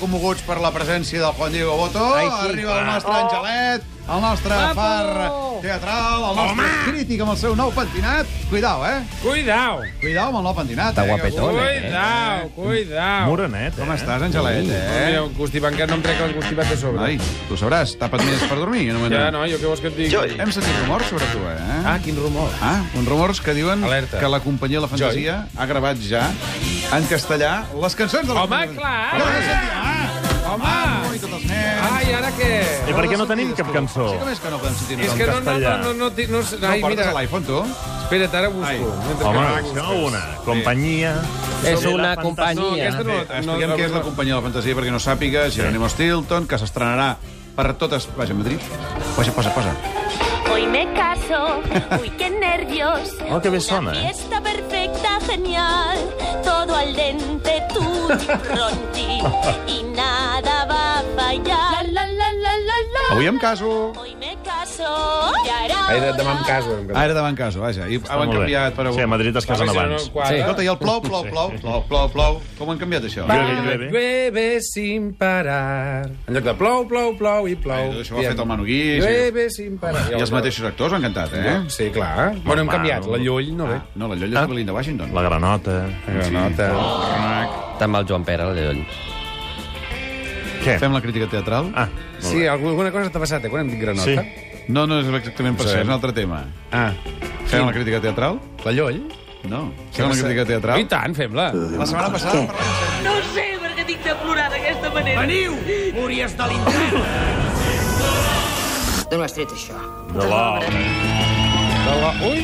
commoguts per la presència del Juan Diego Botó. Ai, sí. Arriba Ah. el nostre Angelet, el nostre Guapo. far teatral, el nostre Home. crític amb el seu nou pentinat. Cuidao, eh? Cuidao, Cuidao amb el nou pentinat. Està eh? guapetón, Que- eh? cuidao, cuidao. Morenet, Com eh? estàs, Angelet? Mira, Eh? un constipat que no em trec el constipat de sobre. Ai, tu sabràs, tapa't més per dormir. No Ja, no, jo què vols que et digui? Hem sentit rumors sobre tu, eh? Ah, quin rumor. Ah, uns rumors que diuen Alerta. que la companyia La Fantasia ha gravat ja en castellà les cançons de la Home, companyia. clar. Ja les he sentit. Ah, Home. ah, i tot els nens. Ai, ara què? I per què no tenim cap cançó? Sí, com és que no podem sentir És en que no, no, no, castellà. no, no, ti- no, no, No ai, portes mira, l'iPhone, tu? espera't, ara busco. Ai. Mentre Home, que això busques. una. Companyia. És de la fantasia. una No, companyia. aquesta No, no, Eh, Expliquem no, què és la companyia de la fantasia, perquè no sàpiga, Jerónimo Stilton, que s'estrenarà per totes... Vaja, Madrid. Posa, posa, posa. Hoy me caso, uy, qué nervios. Oh, qué Una besona, ¿eh? Fiesta perfecta, genial. Todo al dente, tú, pronti. Y nada va a fallar. La, la, la, la, la, la. Avui em caso. Hoy me caso. y hará Ai, de- demà hora. em caso. em caso. Ara demà em Ah, caso, vaja. I Està ho han molt bé. canviat per avui. Sí, a Madrid es A veure casen si no abans. quadra. Escolta, i el plou, plou, plou, plou, plou, plou. Com ho han canviat, això? Llueve, llueve. Llueve sin parar. En lloc de plou, plou, plou i plou. Ai, això ho ha fet el Manu Guix. Llueve sin parar. I els mateixos actors han cantat, eh? Eh? Sí, clar. Bueno, hem canviat. La Llull no ve. No, Ah, la Llolla és Belinda Washington. Ah. La granota. Granota. Està amb el Joan Pere, la Llull. Què? Fem la crítica teatral? Ah, Sí, alguna cosa t'ha passat, eh, quan hem dit granota? Sí. No, no és exactament per Sí. això, és un altre tema. Ah, Fem la crítica teatral? la Llull? No. Fem la crítica I teatral? tant, fem-la. La setmana passada en parlàvem No ho sé per què tinc de plorar d'aquesta manera. Veniu! D'on ho has tret, això? de l'or. De la... Ui,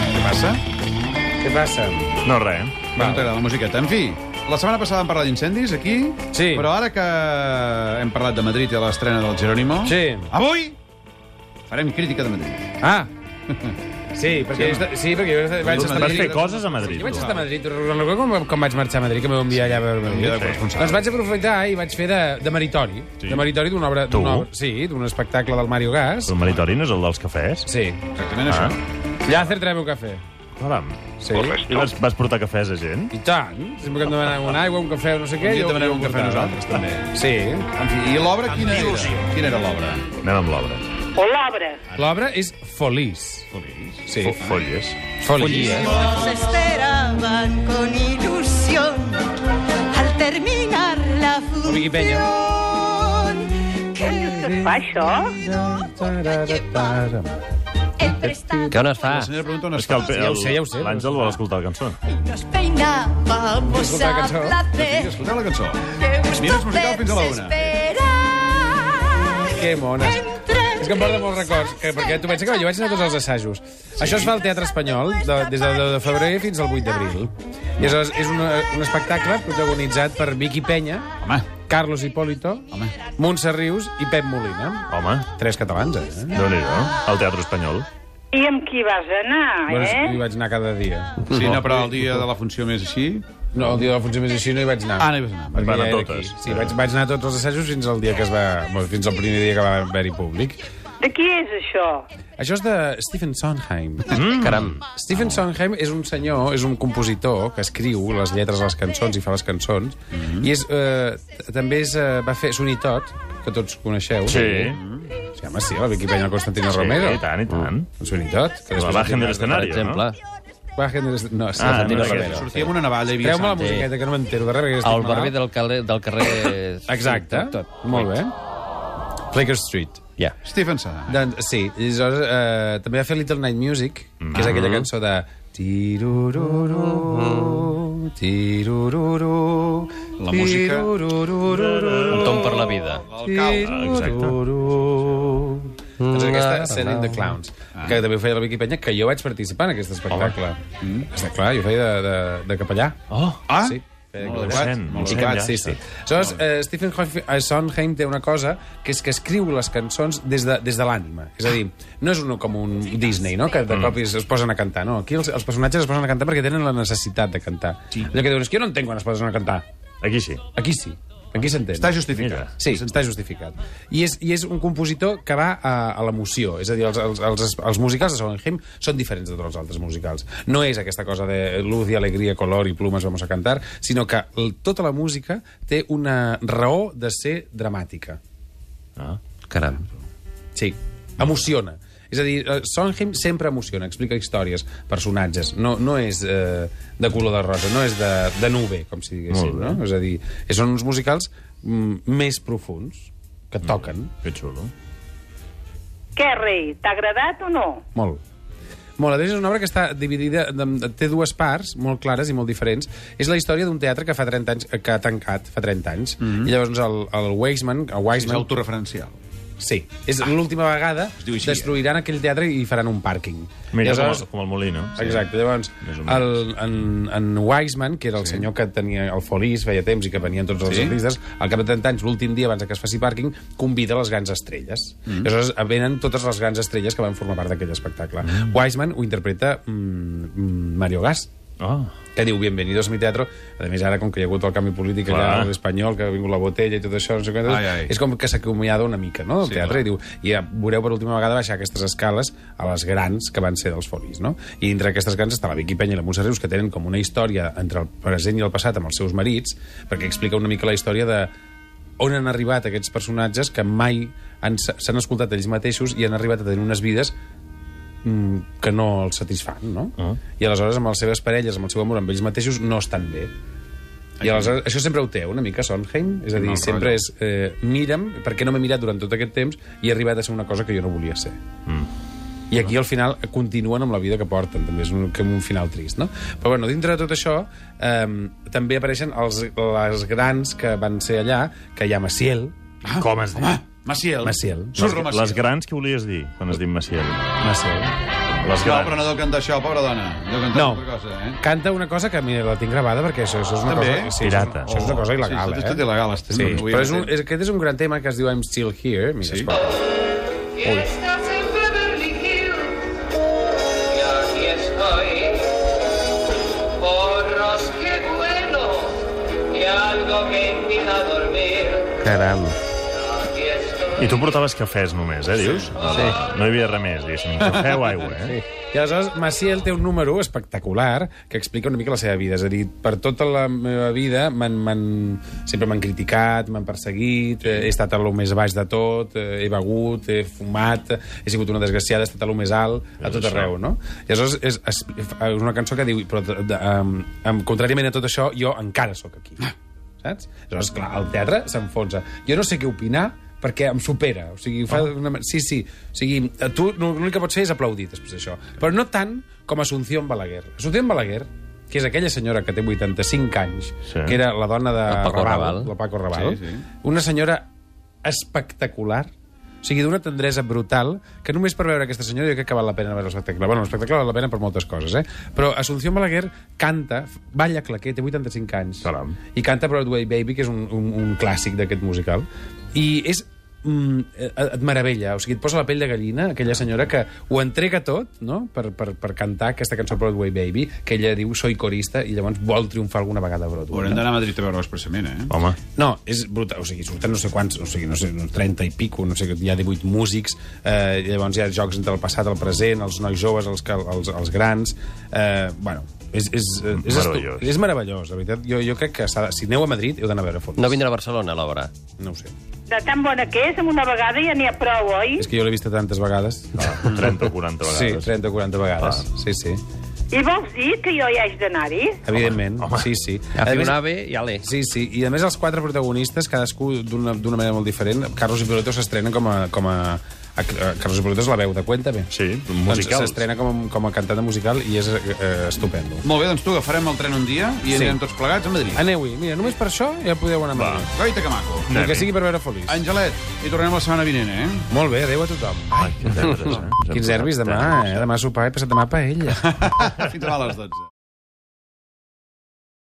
Què passa? què passa? No, res. Va, no t'agrada la musiqueta. En fi, la setmana passada vam parlar d'incendis aquí, Sí. però ara que hem parlat de Madrid i de l'estrena del Jerónimo, Sí. avui farem crítica de Madrid. Ah! Sí, perquè, Sí, sí, sí, perquè jo vaig estar a Vas fer Madrid. coses a Madrid. Jo vaig tu. estar a Madrid, no recordo com, com vaig marxar a Madrid, que m'ho enviar allà a veure Sí, de Madrid. corresponsal. Doncs vaig aprofitar i vaig fer de, de meritori. Sí. De meritori d'una obra, Tu? d'una obra... Sí, d'un espectacle del Mario Gas. El maritori no és el dels cafès? Sí. Exactament Ah. això. Llàcer trae meu cafè. Caram. Sí. I vas, vas portar cafès a gent? I tant. Sempre que em demanen una aigua, un cafè, no sé Un què... dia jo- demanem jo un ho cafè portava. nosaltres, també. Sí. En fi, i l'obra quina era? Quina era l'obra? Anem amb l'obra. O l'obra. L'obra és Feliç. Sí. Fo- Folles. Feliç. Se esperaban con ilusión al terminar la O Vicky Peña. función. Que Fa això? el prestado Què on es fa? La senyora pregunta on És que el, estàs. el, Ja ho sé, ja ho sé. L'Àngel vol escoltar la cançó. nos peinábamos Escolta, a cançó. placer. Escolteu la cançó. Qué Minuts gusto musical fins a la verse una. esperar. Que mones. Entre És que em porta molts records, que, perquè tu pensa que jo vaig anar a tots els assajos. Això es fa al Teatre Espanyol de, des del 10 de febrer fins al 8 d'abril. I és, és un, un espectacle protagonitzat per Vicky Penya, Home, Carlos Hipólito, Home. Montse Rius i Pep Molina. Home, Tres catalans, eh? déu nhi al Teatre Espanyol. I amb qui vas anar, Bueno, eh? hi vaig anar cada dia. sí, no, però el dia de la funció més així... No, el dia de la funció més així no hi vaig anar. Ah, no hi vas anar. Perquè Van a ja era totes. aquí. Sí, vaig, vaig anar a tots els assajos fins al dia que es va... Bueno, fins al primer dia que va haver-hi públic. De qui és això? Això és de Stephen Sondheim. Caram. Stephen Sondheim és un senyor, és un compositor que escriu les lletres a les cançons i fa les cançons. Mhm. I és, eh, t- també és, eh, va fer Sonitot, que tots coneixeu. Sí. Sí, home, sí, la Vicky Peña Constantino Romero. Mm. Sí, I tant, i tant. Sonitot. Que La després- bajen de Per l'escenari, no? exemple, Bajen del- No, sí, Ah, ah, no, no, és Romero. aquesta, Sí. Sortia amb una navalla i hi havia Treu-me la sang. musiqueta, que no m'entero de res, perquè estic el barber malalt. del carrer... Del carrer... Exacte. Tot. Molt bé. Flicker Street. Ja. Stephen Sondheim. Doncs, sí, i aleshores eh, també va fer Little Night Music, que és Mm. aquella cançó de... Tirururu, tirururu, La música. Un tom per la vida. El cau. Doncs aquesta escena in the Clowns, Ah. que també ho feia la Vicky Penya, que jo vaig participar en aquest espectacle. Mm. Està clar, jo feia de, de, de capellà. Oh, Ah? Sí. Molt Ho adequat. sent, ho Molt sent, adequat, ja. sí, sí. Aleshores, eh, Stephen Hoff- eh, Sondheim té una cosa que és que escriu les cançons des de, des de l'ànima. És Ah. a dir, no és un, com un Disney, no?, que de Mm. cop es, es posen a cantar. No, aquí els, els personatges es posen a cantar perquè tenen la necessitat de cantar. Sí. Allò que diuen és que jo no entenc quan es posen a cantar. Aquí sí. Aquí sí. Aquí s'entén. Està justificat. Mira. Sí, està justificat. I és, I és un compositor que va a, a l'emoció. És a dir, els, els, els, els musicals de Sondheim són diferents de tots els altres musicals. No és aquesta cosa de luz i alegria, color i plumes vamos a cantar, sinó que l- tota la música té una raó de ser dramàtica. Ah. Caram. Sí, emociona. És a dir, eh, Sondheim sempre emociona, explica històries, personatges. No, no és eh, de color de rosa, no és de, de nube, com si diguéssim. Molt bé. No? És a dir, eh, són uns musicals mm, més profuns, Mm. que toquen. Que xulo. Què, rei, t'ha agradat o no? Molt. Molt, Adés és una obra que està dividida, de- té dues parts, molt clares i molt diferents. És la història d'un teatre que fa 30 anys que ha tancat, fa 30 anys. I llavors doncs, el, el Weisman, el Mhm. És Weisman autoreferencial. sí, és l'última vegada, diu així, eh? destruiran aquell teatre i faran un pàrquing. Mira, Llavors- com, el- com el molí, no? Sí. Exacte, llavors, Més o menys. el, en, en Wiseman, que era el sí. senyor que tenia el Folís, feia temps i que venien tots els Sí. artistes, al cap de 30 anys, l'últim dia abans que es faci pàrquing, convida les grans estrelles. Mm. Llavors venen totes les grans estrelles que van formar part d'aquell espectacle. Mm. Wiseman ho interpreta mm, mm, Mario Gas, Oh. que diu Bienvenidos a mi teatro. A més, ara, com que hi ha hagut el canvi polític Clar. allà a l'espanyol, que ha vingut la botella i tot això, no sé què, Ai, ai. és com que s'acomiada una mica, no?, del Sí, sí, teatre. clar. I diu, i ja veureu per última vegada baixar aquestes escales a les grans que van ser dels folis, no? I dintre d'aquestes grans està la Vicky Penya i la Montserrat Rius, que tenen com una història entre el present i el passat amb els seus marits, perquè explica una mica la història de on han arribat aquests personatges que mai han- s'han escoltat ells mateixos i han arribat a tenir unes vides mm, que no els satisfan, no? Ah. I aleshores amb les seves parelles, amb el seu amor, amb ells mateixos, no estan bé. I aleshores, això sempre ho té, una mica, Sondheim. És a dir, mal sempre és, eh, mira'm, per què no m'he mirat durant tot aquest temps i he arribat a ser una cosa que jo no volia ser. I aquí al final continuen amb la vida que porten, també és un, que un final trist, no? Però bueno, dintre de tot això eh, també apareixen els, les grans que van ser allà, que hi ha Maciel, Ah. Com es diu? Home, Maciel. Maciel. Surro Les, Maciel. les grans, què volies dir quan es diu Maciel? Maciel. Les No, però grans. no deu cantar això, pobra dona. Deu cantar No, altra cosa, eh? canta una cosa que, mira, la tinc gravada perquè això, això és una També? Oh. cosa... Pirata. Això és una cosa il·legal, sí, eh? això és tot il·legal, estem Sí, avui però és un, mateix. és, aquest és un gran tema que es diu I'm Still Here. Mira, Sí. sí. escolta. Estás en Beverly Hills y aquí estoy. Porros, qué bueno y algo que invita a dormir. Caram. Aquí estoy. I tu portaves cafès només, eh, dius? Sí. No hi havia res més, diguéssim. Cafè o aigua, eh? Sí. I aleshores, Maciel té un número espectacular que explica una mica la seva vida. És a dir, per tota la meva vida m'han- m'han- sempre m'han criticat, m'han perseguit, eh, he estat a lo més baix de tot, eh, he begut, he fumat, he sigut una desgraciada, he estat a lo més alt, a És tot això. arreu, no? I aleshores és, és, és una cançó que diu, però de, de, um, um, contràriament a tot això, jo encara sóc aquí. Ah. Saps? Aleshores, clar, el teatre s'enfonsa. Jo no sé què opinar, perquè em supera. O sigui, fa oh. una... ma- Sí, sí. O sigui, a tu no- l'únic que pots fer és aplaudir després d'això. Però no tant com Asunción Balaguer. Asunción Balaguer, que és aquella senyora que té 85 anys, Sí. que era la dona de El Paco Raval. La Paco Raval. Sí, sí. Una senyora espectacular, o sigui, d'una tendresa brutal, que només per veure aquesta senyora jo crec que val la pena veure l'espectacle. Bueno, l'espectacle val la pena per moltes coses, eh? Però Asunción Balaguer canta, f- balla claquer, té 85 anys. Caram. I canta Broadway Baby, que és un, un, un clàssic d'aquest musical. I és mm, eh, et meravella, o sigui, et posa la pell de gallina aquella senyora que ho entrega tot no? per, per, per cantar aquesta cançó Broadway Baby que ella diu soy corista i llavors vol triomfar alguna vegada a Broadway Haurem d'anar a Madrid a veure-ho expressament, Oh. eh? Home, no, és brutal, o sigui, surten no sé quants, o sigui, no sé, uns 30 i pico, no sé, hi ha 18 músics, eh, llavors hi ha jocs entre el passat, el present, els nois joves, els, que- els, els grans, eh, bueno, és, és, eh, és, Meravellós. estu- és meravellós, la veritat. Jo, jo crec que s'ha de- si aneu a Madrid heu d'anar a veure fons. No vindrà a Barcelona, l'obra. no ho sé. De tan bona que és, amb una vegada ja n'hi ha prou, oi? És que jo l'he vist tantes vegades. 30 o 40 Sí, Ah, vegades. 30 o 40 vegades. Sí, sí. I vols dir que jo hi haig d'anar-hi? Evidentment. Home, sí, sí. Agafi A un més- ave i ale. Sí, sí, i a més els quatre protagonistes, cadascú d'una d'una manera molt diferent. Carlos i Piloto s'estrenen com a... Com a, a, a Carlos i Piloto és la veu de Cuéntame. Sí, Doncs musicals. s'estrena com, a- com a cantant de musical i és eh, estupendo. Molt bé, doncs tu agafarem el tren un dia i Sí. anirem tots plegats a Madrid. Aneu-hi, mira, només per això ja podeu anar a Va. Madrid. Goita que maco. Ni que Anem-hi. sigui per veure Feliç. Angelet, i tornem la setmana vinent, eh? Molt bé, adeu a tothom. Ai, que nervis, eh? Quins nervis demà, eh? Demà sopar i passat demà paella. Fins demà a les 12.